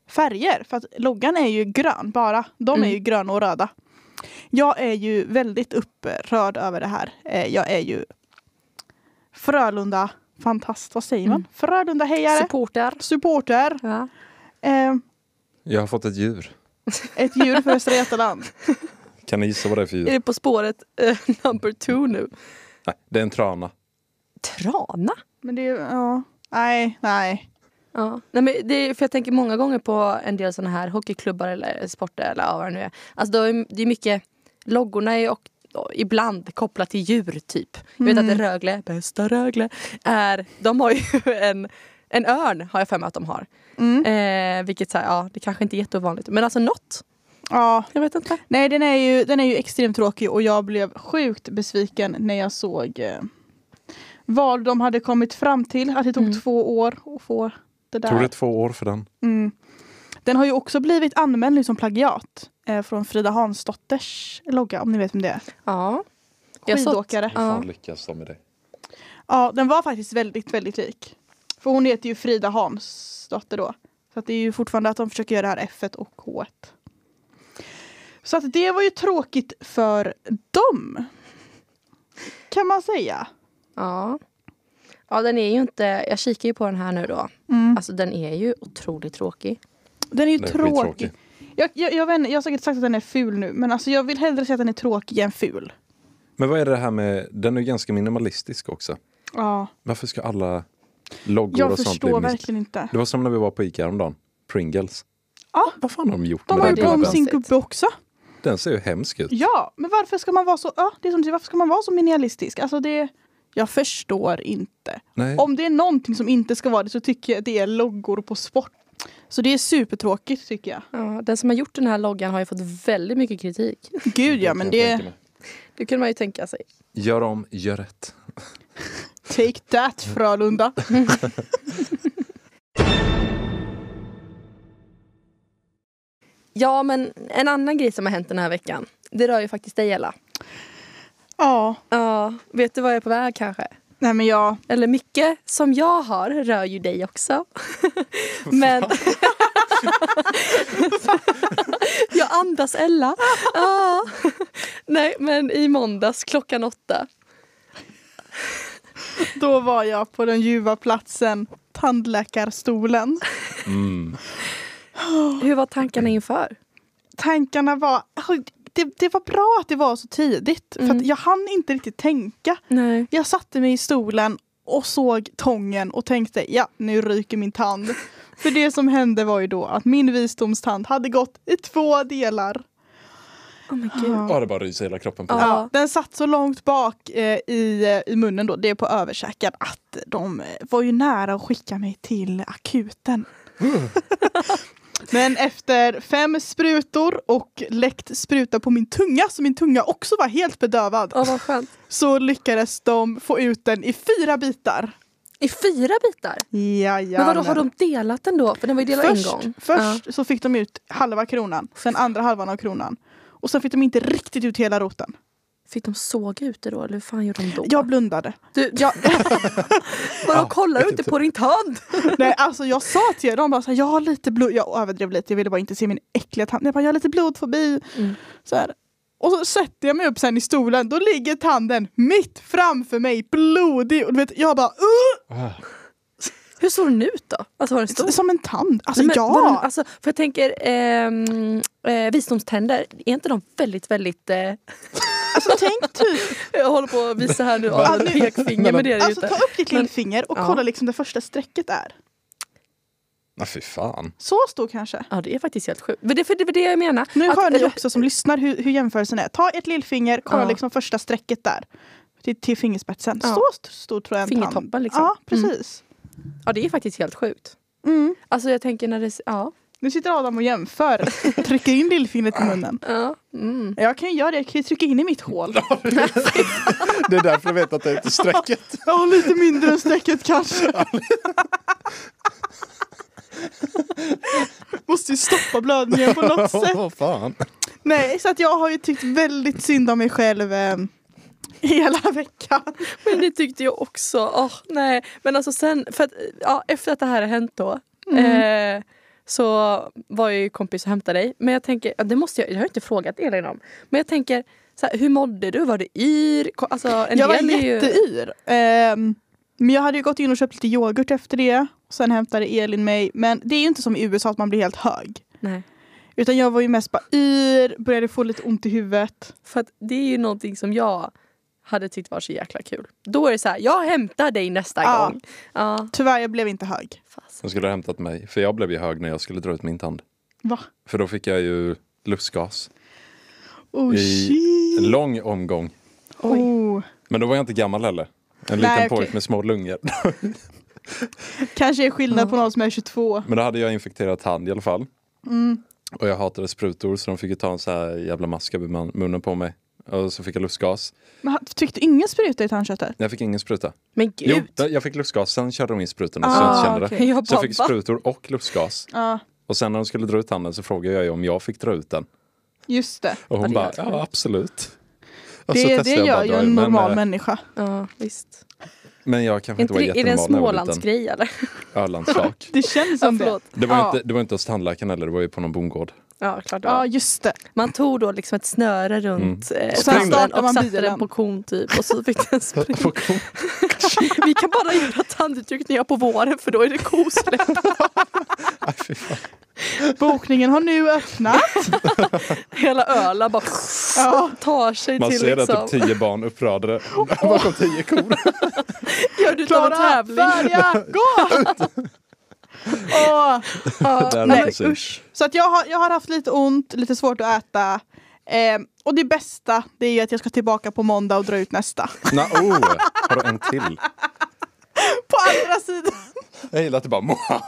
färger för att loggan är ju grön bara. De är Mm. ju gröna och röda. Jag är ju väldigt upprörd över det här. Eh, Jag är ju Frölunda fantast, vad säger man? Mm. Frölunda hejare, Supporter. supporter, Ja. eh, Jag har fått ett djur. ett djur för Västra Götaland. Kan ni gissa vad det är för Är djur? det På spåret eh, number two nu? Nej, det är en trana. Trana? Men det är ju, ja, nej, nej. Ja. Nej, men det, är- för jag tänker många gånger på en del såna här hockeyklubbar eller sporter eller ja, vad det nu är. Alltså, då är m- det är mycket, loggorna är och, och ibland kopplat till djur typ. Jag vet att Rögle, bästa Rögle, är, de har ju en, en örn har jag för mig att de har. Eh, vilket så här, ja, det kanske inte är jätteovanligt. Men alltså något, Ja, jag vet inte. Nej, den är, ju, den är ju extremt tråkig och jag blev sjukt besviken när jag såg eh, vad de hade kommit fram till. Att det tog två år att få det där. Tog det två år för den? Mm. Den har ju också blivit anmäld nu som plagiat eh, från Frida Hansdotters logga, om ni vet vem det är. Ja. Jag har sålt- Skidåkare. Hur fan lyckas de med det? Ja, den var faktiskt väldigt, väldigt lik. För hon heter ju Frida Hansdotter då. Så att det är ju fortfarande att de försöker göra det här F1 och H1. Så att det var ju tråkigt för dem. Kan man säga. Ja. Ja, den är ju inte, jag kikar ju på den här nu då. Alltså den är ju otroligt tråkig. Den är ju Den är tråkig. skittråkig. Jag, jag, jag, vet, inte, jag har säkert sagt att den är ful nu, men alltså jag vill hellre säga att den är tråkig än ful. Men vad är det här med, den är ju ganska minimalistisk också. Ja, Varför ska alla loggor jag och sånt bli förstår minst- verkligen inte. Det var som när vi var på Ica häromdagen, Pringles. Ja. Vad fan har de gjort De med har den gjort om gubben? sin konstigt. gubbe också. Den ser ju hemsk ut. Ja, men varför ska man vara så, ja, det är som du säger, varför ska man vara så minimalistisk? Alltså det, jag förstår inte. Nej. Om det är någonting som inte ska vara det så tycker jag att det är loggor på sport. Så det är supertråkigt tycker jag. Ja, den som har gjort den här loggan har ju fått väldigt mycket kritik. Gud ja, men Jag det tänker mig. Det kunde man ju tänka sig. Gör om, gör rätt. take that Mm. Frölunda. Ja, men en annan grej som har hänt den här veckan. Det rör ju faktiskt dig, Ella. Ja, Ja, vet du vad jag är på väg kanske? nej men jag, Eller mycket som jag har rör ju dig också. Men... jag andas Ella. Ja. Nej, men i måndags klockan åtta. då var jag på den ljuva platsen tandläkarstolen. Mm. Hur var tankarna inför? Tankarna var, oj, det, det var bra att det var så tidigt för att Mm. jag hann inte riktigt tänka. Nej. Jag satte mig i stolen och såg tången och tänkte ja, nu ryker min tand. För det som hände var ju då att min visdomstand hade gått i två delar. Oh my God. Ja, det bara ryser i hela kroppen på Ja. mig. Ja, den satt så långt bak eh, i, eh, i munnen då, det är på översäken, att de eh, var ju nära att skicka mig till akuten. Men efter fem sprutor och läckt spruta på min tunga, så min tunga också var helt bedövad, Åh, vad skönt. så lyckades de få ut den i fyra bitar. I fyra bitar? Jajamän. Men vadå, har de delat den då? För den var ju delad först, en gång. Först så fick de ut halva kronan, sen andra halvan av kronan. Och sen fick de inte riktigt ut hela roten. Fick de såga ut det då? Eller hur fan gjorde de då? Jag blundade. Du, jag... Vadå, Ja, kollar du jag inte tyckte- på din tand? Nej, alltså jag sa till dem bara så här, jag har lite blod, jag överdrev lite, jag ville bara inte se min äckliga tand. Jag bara, jag har lite blodfobi. Mm. Så här. Och så sätter jag mig upp sen i stolen, då ligger tanden mitt framför mig, blodig. Och du vet, jag bara, "Ugh!" Ah. Hur såg den ut då? Alltså var den stor? som en tand. Alltså Nej, men var Den, ja! alltså, för jag tänker, ehm, eh, visdomständer, är inte de väldigt, väldigt... Eh, Alltså tänk typ, jag håller på att visa här nu Ja, av nu- ett pekfinger, men det är det ju alltså inte. ta upp ditt Men- lillfinger och Ja. kolla liksom det första strecket är. Nej, Ah, fy fan. Så stor kanske. Ja, det är faktiskt helt sjukt. Men det, för det var det jag menar. Nu Att- hör ni eller- också som lyssnar hur, hur jämförelsen är. Ta ert lillfinger, kolla Ja. liksom första strecket där. Till, till fingerspetsen. Ja. Så st- stor tror jag en tand. Fingertoppen, liksom. Ja, precis. Ja, det är faktiskt helt sjukt. Mm. Alltså jag tänker när det... Ja. Nu sitter Adam och jämför. Trycker in lillfingret i munnen. ja mm. Jag kan ju göra det, jag kan ju trycka in i mitt hål. Det är därför du vet att det är inte strecket. Ja, lite mindre än strecket kanske. Måste ju stoppa blödningen på något sätt. Åh, fan. Nej, så att jag har ju tyckt väldigt synd om mig själv eh, hela veckan. Men det tyckte jag också. Åh, nej. Men alltså sen, för att, ja, efter att det här har hänt då Mm. eh, så var jag ju kompis och hämtade dig. Men jag tänker, ja, det måste jag, jag har inte frågat Elin om. Men jag tänker, så här, hur mådde du? Var du yr? Ko- Alltså, en jag var del är ju, jätteyr. Ehm, men jag hade ju gått in och köpt lite yoghurt efter det. Sen hämtade Elin mig. Men det är ju inte som i USA att man blir helt hög. Nej. Utan jag var ju mest bara yr, började få lite ont i huvudet. För att det är ju någonting som jag hade tyckt var så jäkla kul. Då är det så här, jag hämtar dig nästa Ja. gång. Ja, Tyvärr, jag blev inte hög. fast. De skulle ha hämtat mig, för jag blev ju hög när jag skulle dra ut min tand. Va? För då fick jag ju lustgas. Oh I- shit. En lång omgång. Oh. Men då var jag inte gammal heller. En liten Nej, okej. pojk med små lungor. Kanske är skillnad på någon som är Mm. 22. Men då hade jag infekterat hand i alla fall. Och jag hatade sprutor så de fick ju ta en så här jävla mask över man- munnen på mig. Och så fick jag lustgas. Men han- tryckte ingen spruta i tandköttet? Jag fick ingen spruta. Men gud. Jo, där- jag fick lustgas, sen körde de in sprutorna så jag Ah, inte kände okej. det. Jag Så jag bara, fick va? sprutor och lustgas. Ja, Och sen när de skulle dra ut handen så frågade jag ju om jag fick dra ut den. just det. Och Ja, hon det bara, låter sjukt. ja absolut. Alltså, Och så Det, testade det jag bara gör ju dra i, en men, normal eh, människa. Ja, visst. Men jag kanske inte Inte, var det- är det en jättenormal när jag var liten. Smålandsgrej eller? Ölandsvak. Det känns Ja, som det. förlåt. Det var, ju Ja. inte, det var inte hos tandläkaren heller, det var ju på någon bondgård. Ja, klart det var. Ja, just det. Man tog då liksom ett snöre Mm. runt eh, sen tanden startade man och satte bilen. den på kon typ och så fick den springa. På kon. Vi kan bara göra tandutryckningar på våren för då är det kosläpp. Aj, fy fan. Bokningen har nu öppnat. Hela Öland bara Ja. tar sig Man till ser liksom. att typ tio barn uppradade bakom tio kor. Gör du utav en tävling. färja, gå! Åh, Där nej, precis. Så att jag har, jag har haft lite ont, lite svårt att äta. Eh, och det bästa det är ju att jag ska tillbaka på måndag och dra ut nästa. Nå, oh, har du en till? På andra sidan. Jag gillar att du bara "Moa."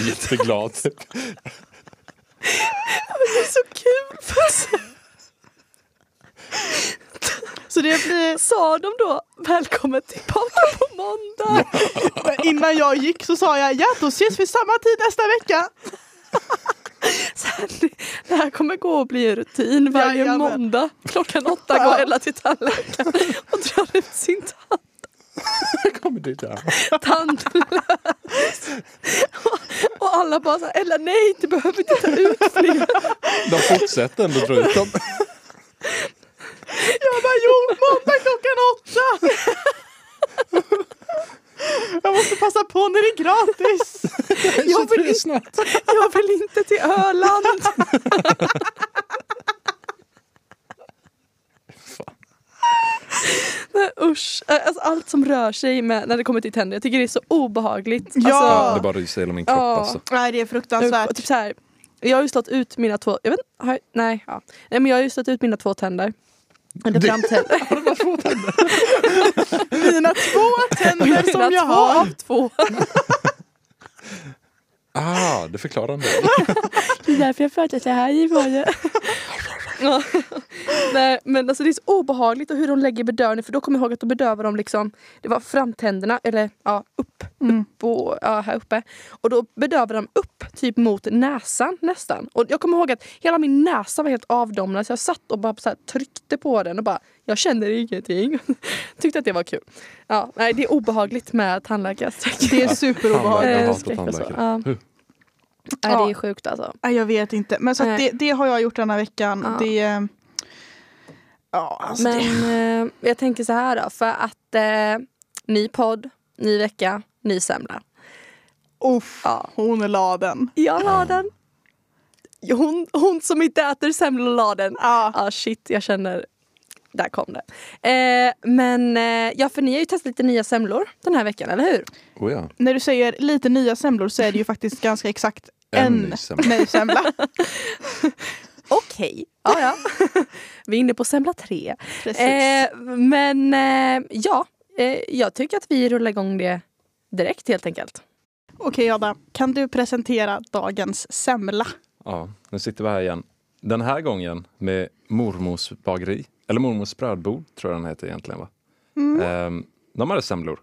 Jätteglad. typ. Det är så kul. Så det blir... Sa de då välkommen tillbaka på måndag? Men Innan jag gick så sa jag ja, då ses vi samma tid nästa vecka. Sen, det här kommer gå och bli en rutin varje Jajamän. måndag. Klockan åtta går Ella till tandläkaren och drar ut sin tand. Jag kommer dit ja. tandlös. Och, och alla bara så här, Ella nej, du behöver inte ta ut fler. De fortsätter ändå dra ut dem. Jag bara jo, måndag klockan åtta. Jag måste passa på när det är gratis. Jag vill inte- snart. Jag vill inte till Öland. Nej, usch, alltså, allt som rör sig med, när det kommer till tänder, jag tycker det är så obehagligt. Ja. Ja, det bara ryser i hela min kropp Ja. alltså. Nej det är Alltså, fruktansvärt. typ så här, jag har ju stått ut mina två, jag vet, har jag, nej, ja. nej men jag har ju stått ut mina två tänder. Eller Du- framtänder. Mina två tänder som Mina jag två har. av två. Ah, det förklarar en del. Det är därför jag föddes här i Vårö. Nej men alltså det är så obehagligt och hur de lägger bedövning för då kommer jag ihåg att de bedövar dem liksom Det var framtänderna eller ja upp, upp och, ja, här uppe Och då bedövar de upp typ mot näsan nästan Och jag kommer ihåg att hela min näsa var helt avdomnad så jag satt och bara så här, tryckte på den och bara Jag känner ingenting Tyckte att det var kul Ja nej det är obehagligt med tandläkarsträck Det är Tandläkare, superobehagligt. jag Eh, hatar skräck och så. tandläkare. Ja. Huh. Nej det är sjukt alltså Nej, jag vet inte. Men så att Nej. det, det har jag gjort denna veckan. Ja. Det, eh, ja, alltså det, Men eh, jag tänker så här då, för att eh, ny podd, ny vecka, ny semla. uff, Ja. hon la den. Jag la den. Hon, hon som inte äter semla la den. Ja. Ah shit, jag känner... Där kom det. Eh, men eh, ja, för ni har ju testat lite nya semlor den här veckan, eller hur? Oh, ja. När du säger lite nya semlor så är det ju faktiskt ganska exakt En en ny semla. ny semla. Okej. Ja, ja. Vi är inne på semla tre. Precis. Eh, men eh, ja, eh, jag tycker att vi rullar igång det direkt helt enkelt. Okej Ada, kan du presentera dagens semla? Ja, nu sitter vi här igen. Den här gången med Mormors bageri, eller Mormors brödbord tror jag den heter egentligen va? Mm. Ehm, de hade semlor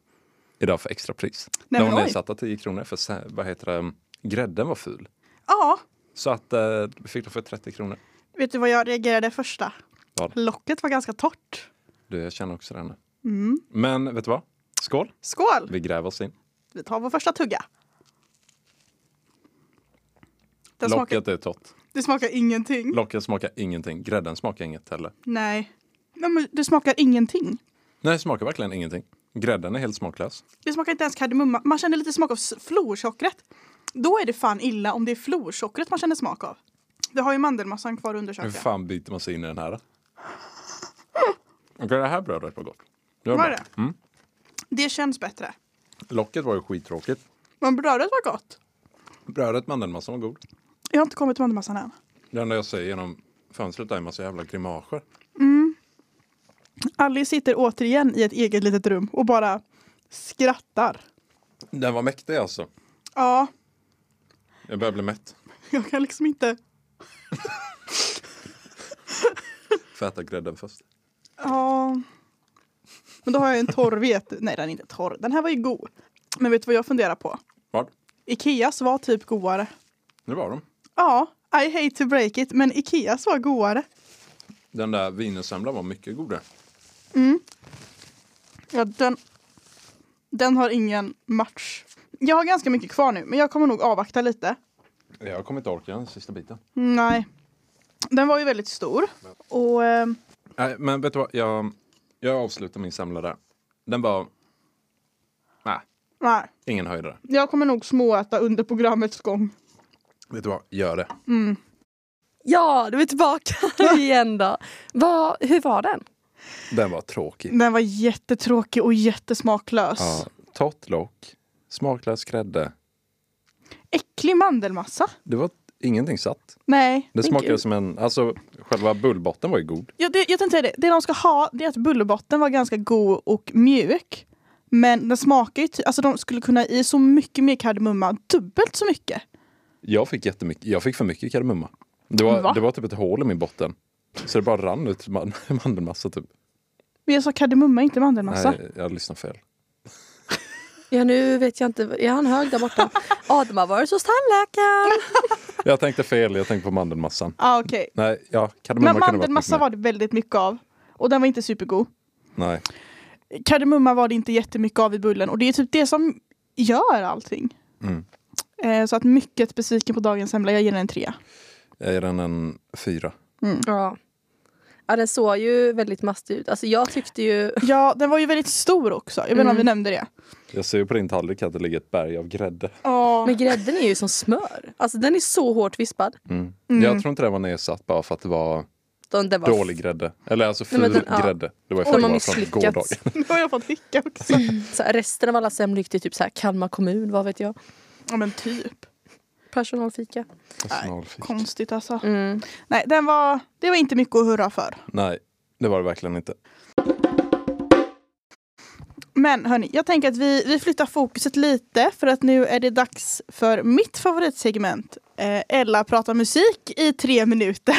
idag för extrapris. Nej, de men var oj. nedsatta 10 kronor för se- vad heter det? grädden var ful. Ja, Så att eh, vi fick dem för 30 kronor. vet du vad jag reagerade första? Vad? Locket var ganska torrt. Du, jag känner också det nu. Mm. Men vet du vad? Skål! Skål! Vi gräver oss in. Vi tar vår första tugga. Den smakar, Locket är torrt. det smakar ingenting. Locket smakar ingenting. Grädden smakar inget heller. Nej. Nej men det smakar ingenting. Nej, det smakar verkligen ingenting. Grädden är helt smaklös. Det smakar inte ens kardemumma. Man känner lite smak av s- florsockret. Då är det fan illa om det är florsockret man känner smak av. Vi har ju mandelmassan kvar att undersöka. Hur fan byter man sig in i den här? då? Okej, det här brödet var gott. Det var Var bra. det? Det känns bättre. Locket var ju skittråkigt. Men brödet var gott. Brödet med mandelmassa var god. Jag har inte kommit till mandelmassan än. Det enda jag ser genom fönstret är en massa jävla grimaser. Alice sitter återigen i ett eget litet rum och bara skrattar. Den var mäktig alltså. Ja, Jag börjar bli mätt. jag kan liksom inte... Får äta grädden först. Ja. Men då har jag en torr vet... Nej, den är inte torr. Den här var ju god. Men vet du vad jag funderar på? Vad? Ikeas var typ godare. Nu var de. Ja, I hate to break it, men Ikeas var godare. Den där wienersemlan var mycket godare. Ja, den, den har ingen match. Jag har ganska mycket kvar nu, men jag kommer nog avvakta lite. Jag kommer inte orka den sista biten. Nej. Den var ju väldigt stor. Och eh, Nej, men vet du vad? Jag, jag avslutar min semla där. Den var... Nej, nej, ingen höjdare. jag kommer nog småäta under programmets gång. Vet du vad? Gör det. Ja, du är tillbaka igen då. Vad- hur var den? Den var tråkig. Den var jättetråkig och jättesmaklös. Ja, torrt lock, smaklös grädde. Äcklig mandelmassa. Det var Ingenting satt. Nej. Det men smakade gud. som en... Alltså själva bullbotten var ju god. Ja, det, jag tänkte säga det, det de ska ha det är att bullerbotten var ganska god och mjuk. Men den smakar ju, ty- alltså de skulle kunna ha i så mycket mer kardemumma, dubbelt så mycket. Jag fick jättemycket. Jag fick för mycket kardemumma. Det var, Va? det var typ ett hål i min botten. Så det bara rann ut man- mandelmassa typ. Men jag sa kardemumma, inte mandelmassa. Nej, jag lyssnade fel. Ja, nu vet jag inte. Är han hög där borta? Adam har varit hos tandläkaren. Jag tänkte fel, jag tänkte på mandelmassan. Ah, okej. Nej, ja, kardemumma Men kunde varit mandelmassa mycket var det väldigt mycket av. Och den var inte supergod. mer. Nej. Kardemumma var det inte jättemycket av i bullen och det är typ det som gör allting. Mm. Eh, så att mycket besviken på dagens semla, jag ger den en trea. Jag ger den en fyra. Ja. ja, den såg ju väldigt mastig ut. Alltså, jag tyckte ju... Ja, den var ju väldigt stor också. Jag vet inte om vi nämnde det. Jag ser ju på din tallrik att det ligger ett berg av grädde. Men grädden är ju som smör. Alltså, den är så hårt vispad. Mm. Jag tror inte det var nedsatt bara för att det var Den, den var dålig grädde. Eller alltså ful Nej, men den- ja. grädde. Det var ju De för att det var har från misslyckats. gårdagen. Nu har jag fått hicka också. Så här, resten av alla semlor gick till typ så här Kalmar kommun, vad vet jag. Ja men typ. Personalfika. Personalfika. Konstigt alltså. Mm. Nej, den var, det var inte mycket att hurra för. Nej, det var det verkligen inte. Men hörni, jag tänker att vi, vi flyttar fokuset lite för att nu är det dags för mitt favoritsegment. Eh, Ella pratar musik i tre minuter.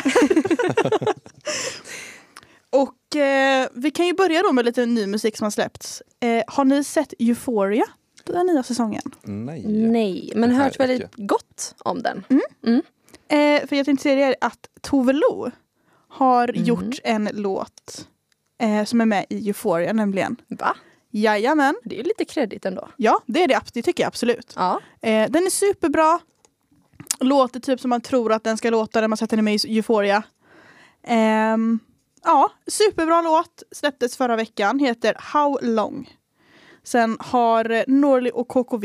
Och eh, vi kan ju börja då med lite ny musik som har släppts. Eh, har ni sett Euphoria? Den nya säsongen. Nej. Nej, men Det här hört är väldigt gott om den. Eh, för jag tänkte säga det här att Tove Lo har gjort en låt eh, som är med i Euphoria nämligen. Va? Jajamän. Det är ju lite kredit ändå. Ja, det är det. ab- Det tycker jag absolut. Ja. Eh, den är superbra. Låter typ som man tror att den ska låta när man sätter den med i Euphoria. Ehm, ja, superbra låt. Släpptes förra veckan. Heter How long. Sen har eh, Norli och KKV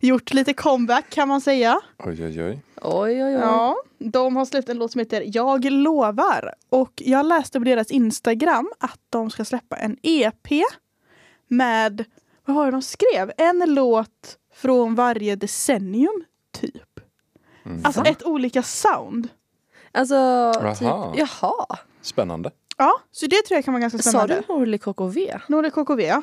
gjort lite comeback kan man säga. Oj, oj, oj. Oj, oj, oj. Ja, de har släppt en låt som heter Jag lovar. Och jag läste på deras Instagram att de ska släppa en EP med, vad var det de skrev? En låt från varje decennium, typ. Mm. Alltså ett olika sound. Alltså, Jaha. typ... Jaha. Spännande. Ja, så det tror jag kan vara ganska Sa spännande. du Norli KKV? Nordic KKV, ja.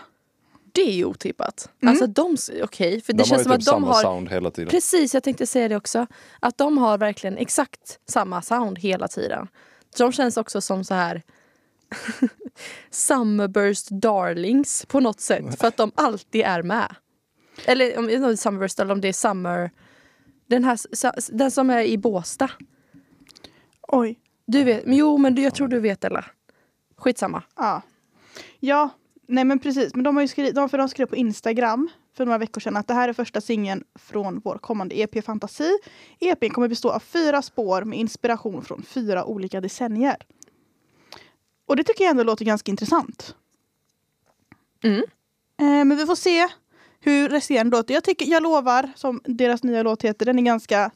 Det är ju otippat. Mm. Alltså de, s- okej, för det de känns har som ju typ att de samma har... sound hela tiden. Precis, jag tänkte säga det också. Att de har verkligen exakt samma sound hela tiden. Så de känns också som så här... Summerburst darlings på något sätt. För att de alltid är med. Eller om om det är Summerburst eller om det är Summer... Den, här, s- den som är i Båsta. Oj. Du vet, men jo, men du, jag tror du vet eller? Skitsamma. Ja. ja, nej men precis. Men de har ju skrivit, de, för de skrev på Instagram för några veckor sedan att det här är första singeln från vår kommande EP Fantasi. EPn kommer bestå av fyra spår med inspiration från fyra olika decennier. Och det tycker jag ändå låter ganska intressant. Mm. Eh, men vi får se hur resten låter. Jag, tycker, jag lovar, som deras nya låt heter, den är ganska...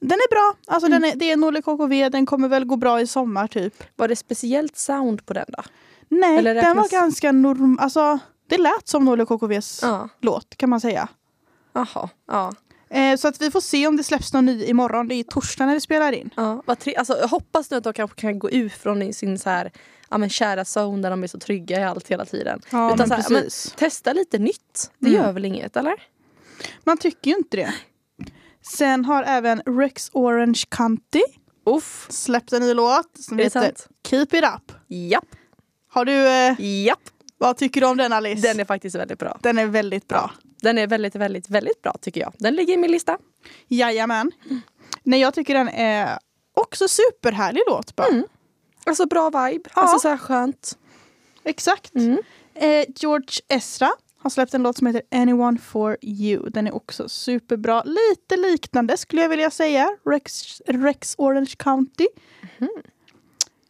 Den är bra. Alltså den är, det är Norli KKV, den kommer väl gå bra i sommar typ. Var det speciellt sound på den då? Nej, Eller den var räknas- ganska norm... Alltså, det lät som Norli KKVs Ja. låt kan man säga. Jaha. Ja. Eh, så att vi får se om det släpps någon ny imorgon. Det är torsdag när vi spelar in. Ja, vad tri- alltså, jag hoppas nu att de kanske kan gå ut från sin så här, ja, men, kära zone där de är så trygga i allt hela tiden. Ja, Utan men så här, precis. testa lite nytt. Det gör väl inget, eller? Man tycker ju inte det. Sen har även Rex Orange County Uff. släppt en ny låt som Är det heter sant? Keep It Up. Japp, Har du, eh, japp. vad tycker du om den Alice? Den är faktiskt väldigt bra. Den är väldigt bra. Den är väldigt, väldigt, väldigt bra tycker jag. Den ligger i min lista. Jajamän. Nej, jag tycker den är också superhärlig låt bara. Alltså bra vibe. Ja. Alltså så här skönt. Exakt. Mm. Eh, George Ezra har släppt en låt som heter Anyone for you. Den är också superbra. Lite liknande skulle jag vilja säga. Rex, Rex Orange County.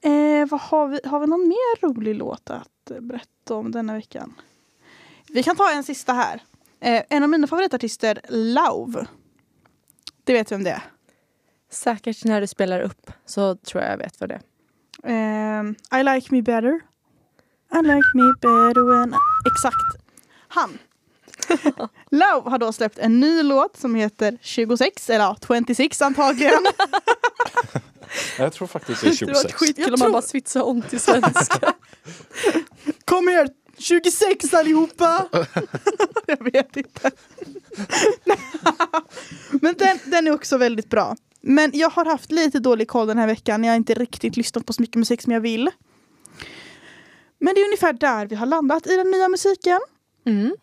Eh, vad har, vi, har vi någon mer rolig låt att eh, berätta om denna veckan? Vi kan ta en sista här. Eh, en av mina favoritartister, Lauv. Det vet vem det är. Säkert när du spelar upp så tror jag jag vet vad det är. Ehm, I like me better. I like me better when... Exakt. Han. Love har då släppt en ny låt som heter 26, eller ja, 26 antagligen. Jag tror faktiskt det är 26. skitkul Jag om man tror- bara svitsar om till svenska. Kom här, 26 allihopa! Jag vet inte. Men den, den är också väldigt bra. Men jag har haft lite dålig koll den här veckan. Jag har inte riktigt lyssnat på så mycket musik som jag vill. Men det är ungefär där vi har landat i den nya musiken. Mm.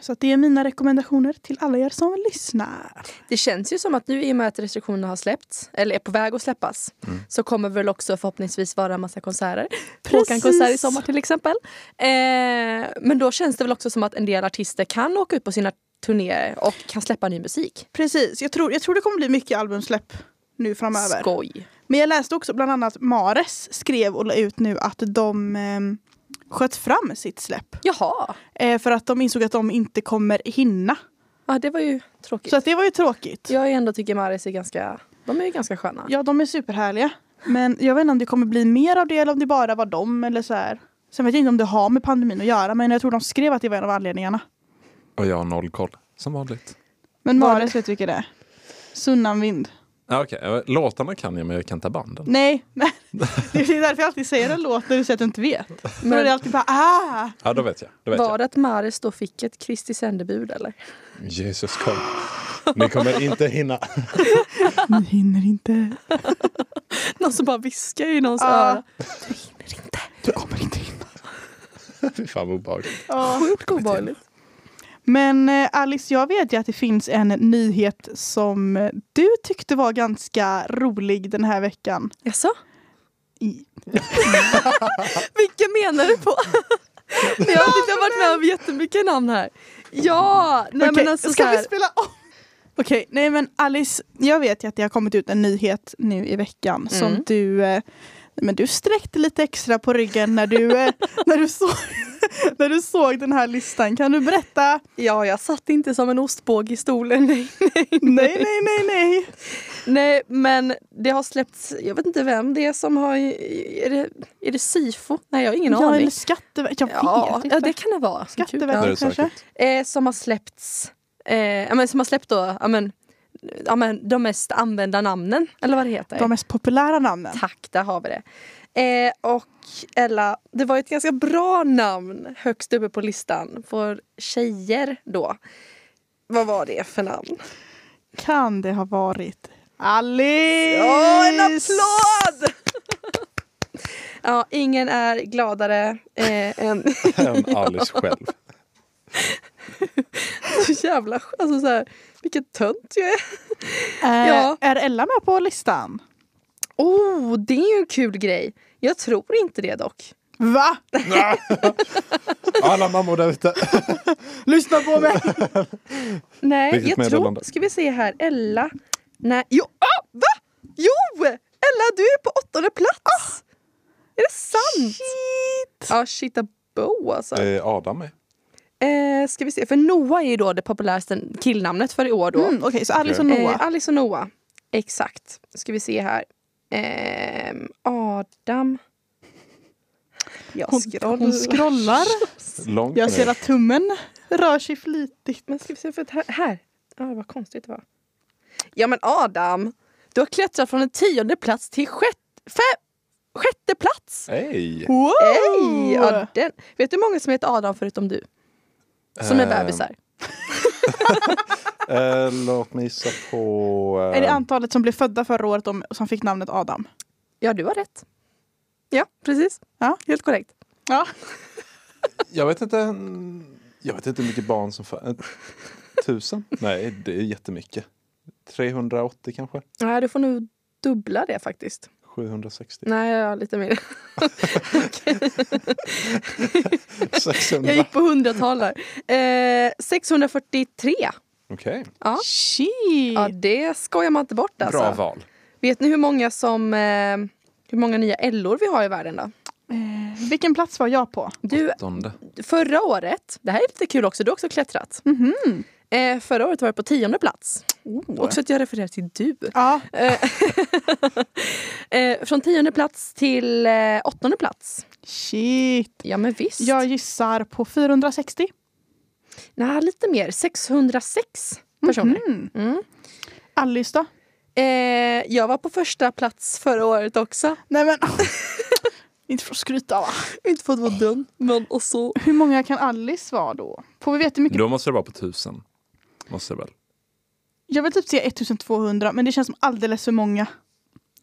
Så att det är mina rekommendationer till alla er som lyssnar. Det känns ju som att nu i och med att restriktionerna har släppts, eller är på väg att släppas, så kommer väl också förhoppningsvis vara en massa konserter. Håkan-konsert i sommar till exempel. Eh, men då känns det väl också som att en del artister kan åka ut på sina turnéer och kan släppa ny musik. Precis, jag tror, jag tror det kommer bli mycket albumsläpp nu framöver. Skoj! Men jag läste också bland annat Mares skrev och la ut nu att de ehm, sköt fram sitt släpp. Jaha, Eh, för att de insåg att de inte kommer hinna. ja, det var ju tråkigt. Så att det var ju tråkigt. Jag ändå tycker Maris är ganska, de är ju ganska sköna. Ja, de är superhärliga. Men jag vet inte om det kommer bli mer av det eller om det bara var dem eller så här. Sen vet jag inte om det har med pandemin att göra men jag tror de skrev att det var en av anledningarna. Och jag har noll koll, som vanligt. Men Var Mares vet vilka det är. Sunnanvind. Ja, Okej, eh, låtarna kan jag men jag kan inte banden. Nej, nej. Det är därför jag alltid säger en låt när du säger att du inte vet. För då Men- är det alltid bara ah! Ja, då vet jag. Då vet Var det att Maris då fick ett Kristi sändebud eller? jag. Jesus kom. Ni kommer inte hinna. Ni hinner inte. Någon som bara viskar i någons Ja. öra. Du kommer inte hinna. Fy fan vad obehagligt. Sjukt obehagligt. Men eh, Alice, jag vet ju att det finns en nyhet som eh, du tyckte var ganska rolig den här veckan. Jaså? I- Vilka menar du på? Nej, jag har inte varit med om jättemycket namn här. Ja, nej Okej, men alltså så ska vi här. spela om? Okej, nej men Alice, jag vet ju att det har kommit ut en nyhet nu i veckan som Mm. du, eh, men du sträckte lite extra på ryggen när du, eh, när, du såg, när du såg den här listan. Kan du berätta? Ja, jag satt inte som en ostbåge i stolen. Nej, Nej, nej, nej, nej. nej, men det har släppts, jag vet inte vem det är som har, är det, är det SIFO? Nej, jag har ingen Ja, aning. eller Skatteverket, jag Ja, vet inte. ja, det kan det vara. Gud, ja. Det är Skatteverket det kanske? säkert. eh, som har släppts, eh, ja, men, som har släppt då, ja, men, ja, men, de mest använda namnen, eller vad det heter. De mest populära namnen. Tack, där har vi det. Eh, och Ella, det var ett ganska bra namn högst uppe på listan för tjejer då. Vad var det för namn? Kan det ha varit Alice? Åh, en applåd! ja, ingen är gladare eh, än Än Alice själv. så jävla... Alltså så här, vilken tönt jag är. Eh, Ja. Är Ella med på listan? Oh, det är ju en kul grej. Jag tror inte det dock. Va? Alla mammor där ute. Lyssna på mig! Nej, Vilket jag meddelande? tror... Ska vi se här. Ella. Nej. Jo! Ah, va? Jo! Ella, du är på åttonde plats! Är det sant? Shit! Ja, shit a bo alltså. Eh, Adam med. Eh, ska vi se. För Noah är ju då det populäraste killnamnet för i år då. Mm, Okej, så Alice och Eh, Noah. Alice och Noah. Exakt. Ska vi se här. Ehm, Adam. Jag Hon, hon scrollar. scrollar. Långt Jag ser ner. att tummen rör sig flitigt. Men ska vi se, för att här, här. Ja, vad konstigt det var. Ja men Adam! Du har klättrat från en tionde plats till sjätte, fe, sjätte plats! Hej! Wow! Oh! Ej! Ja, den. Vet du hur många som heter Adam förutom du? Som är Ehm, bebisar? Eh, låt mig gissa på... eh, Är det antalet som blev födda förra året om, som fick namnet Adam? Ja, du har rätt. Ja, precis. Ja. Helt korrekt. Ja. jag, vet inte, en- jag vet inte hur mycket barn som föds. Tusen? Nej, det är jättemycket. 380 kanske? Nej, du får nog dubbla det faktiskt. 760? Nej, jag har lite mer. 600? Jag Okej. gick på hundratal där. Eh, 643. Ja. Shit! ja, det skojar man inte bort alltså. Bra val. Vet ni hur många som eh, hur många nya Ellor vi har i världen då? Eh, vilken plats var jag på? Du, Åttonde. förra året, det här är lite kul också, du har också klättrat. Eh, förra året var jag på tionde plats. Oh. Också att jag refererar till du. Ja, Eh, från tionde plats till eh, åttonde plats. shit. Ja men visst. Jag gissar på 460. Nej, lite mer. 606 personer. Mm. Alice då? Eh, jag var på första plats förra året också. Nej men. Inte för att skryta va? Inte för att vara dum, men alltså. och så. Hur många kan Alice vara då? Får vi veta hur mycket? Då måste det vara på tusen. Måste det väl? Jag vill typ säga 1200 men det känns som alldeles för många.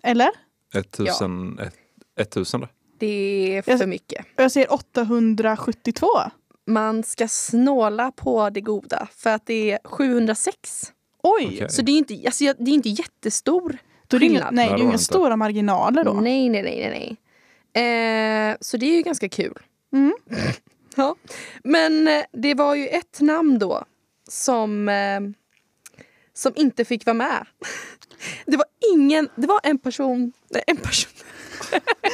Eller? 1000, ett, 1000 då? Det är för Jag- mycket. Och Jag säger 872. Man ska snåla på det goda för att det är 706. Oj! Okej. Så det är inte, alltså, jag- det är inte jättestor Då är det inga, Skillnad. nej, Nej, det är det ju var inga inte. stora marginaler då. Nej, nej, nej, nej. nej. Eh, så det är ju ganska kul. Mm. ja. Men eh, det var ju ett namn då som, eh, som inte fick vara med. Det var ingen, det var en person, nej, en person.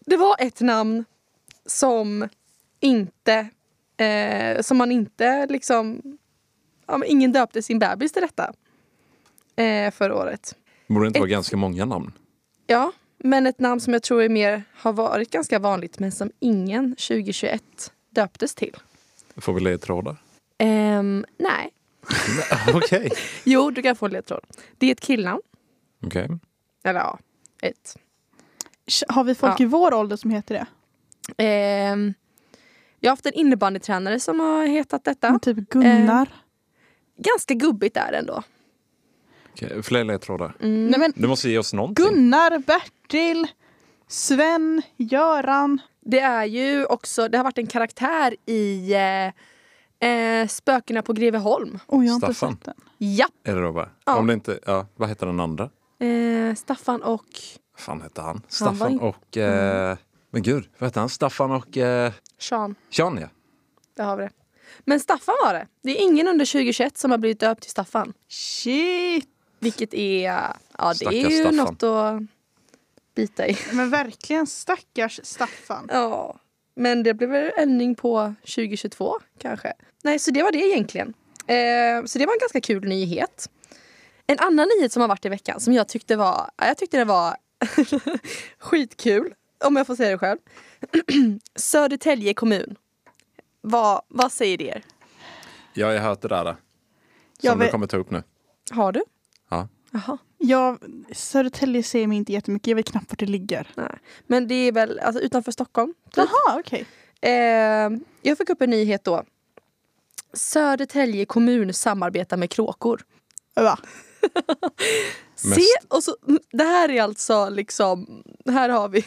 det var ett namn som inte, eh, som man inte liksom, ja, men ingen döpte sin bebis till detta eh, förra året. Borde det inte vara Ett- ganska många namn? Ja, men ett namn som jag tror är mer har varit ganska vanligt men som ingen 2021 döptes till. Får vi ledtrådar? Ehm, nej. Nej, Okej. Jo, du kan få en ledtråd. Det är ett killnamn. Okej. Eller ja, ett. Sh- Har vi folk Ja. i vår ålder som heter det? Ehm, jag har haft en innebandytränare som har hetat Men detta. Typ Gunnar? Eh, Ganska gubbigt är det ändå. Okej, Fler ledtrådar. mm. Nej men Du måste ge oss någonting. Gunnar, Bertil, Sven, Göran. Det är ju också, det har varit en karaktär i eh, eh, Spökena på Greveholm. Oj, jag har inte Staffan. sett den. Ja. Är det då va? Ja. Om det inte, ja, vad heter den andra? Eh, Staffan och Vad fan hette han? Staffan var inte- och... Eh, men gud, vad hette han? Staffan och... Eh, Sean. Sean ja. Där har vi det. Men Staffan var det. Det är ingen under 2021 som har blivit döpt till Staffan. Shit! Vilket är... Ja, det är Stackars ju Staffan. något att bita i. Men verkligen stackars Staffan. Ja. Men det blev väl ändring på 2022 kanske. Nej, så det var det egentligen. Eh, så det var en ganska kul nyhet. En annan nyhet som har varit i veckan som jag tyckte var... ja, Jag tyckte det var skitkul, om jag får säga det själv. Södertälje kommun. Vad, vad säger det er? Ja, jag har hört det där. eh, Som Jag du vet- kommer ta upp nu. Har du? Ja. Jaha. Jag, Södertälje säger mig inte jättemycket, jag vet knappt vart det ligger. Nej. Men det är väl alltså, utanför Stockholm. typ. Jaha, okej. Eh, jag fick upp en nyhet då. Södertälje kommun samarbetar med kråkor. Va? Mest- Se, och så, mm, det här är alltså liksom... Här har vi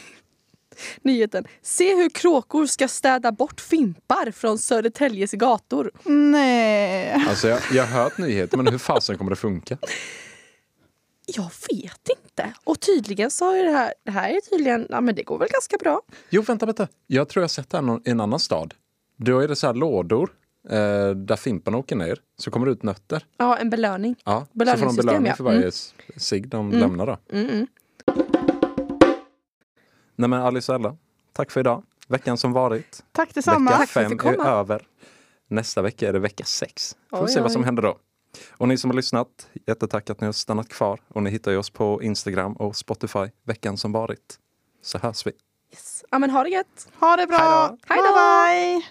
nyheten. Se hur kråkor ska städa bort fimpar från Södertäljes gator. Nej. Alltså jag, jag har hört nyheter, men hur fasen kommer det funka? Jag vet inte. Och tydligen så har ju det här... Det här är tydligen... Ja, men det går väl ganska bra. Jo, vänta, vänta. Jag tror jag har sett det här någon- i en annan stad. Då är det så här lådor eh, där fimparna åker ner. Så kommer det ut nötter. Ja, en belöning. Ja, så får de Belöningssystem, belöning ja. för varje Mm. s- cigg de lämnar. Då. Mm, mm. Nej, men Alice och Ella, tack för idag. Veckan som varit. Tack detsamma. Vecka Tack för att fem vi fick är komma. över. Nästa vecka är det vecka sex. Får vi Oj, se vad som oj. händer då. Och ni som har lyssnat, jättetack att ni har stannat kvar. Och ni hittar ju oss på Instagram och Spotify, veckan som varit. Så hörs vi. Yes. Ja, men ha det gött. Ha det bra. Hej då. Hej då. Bye, bye.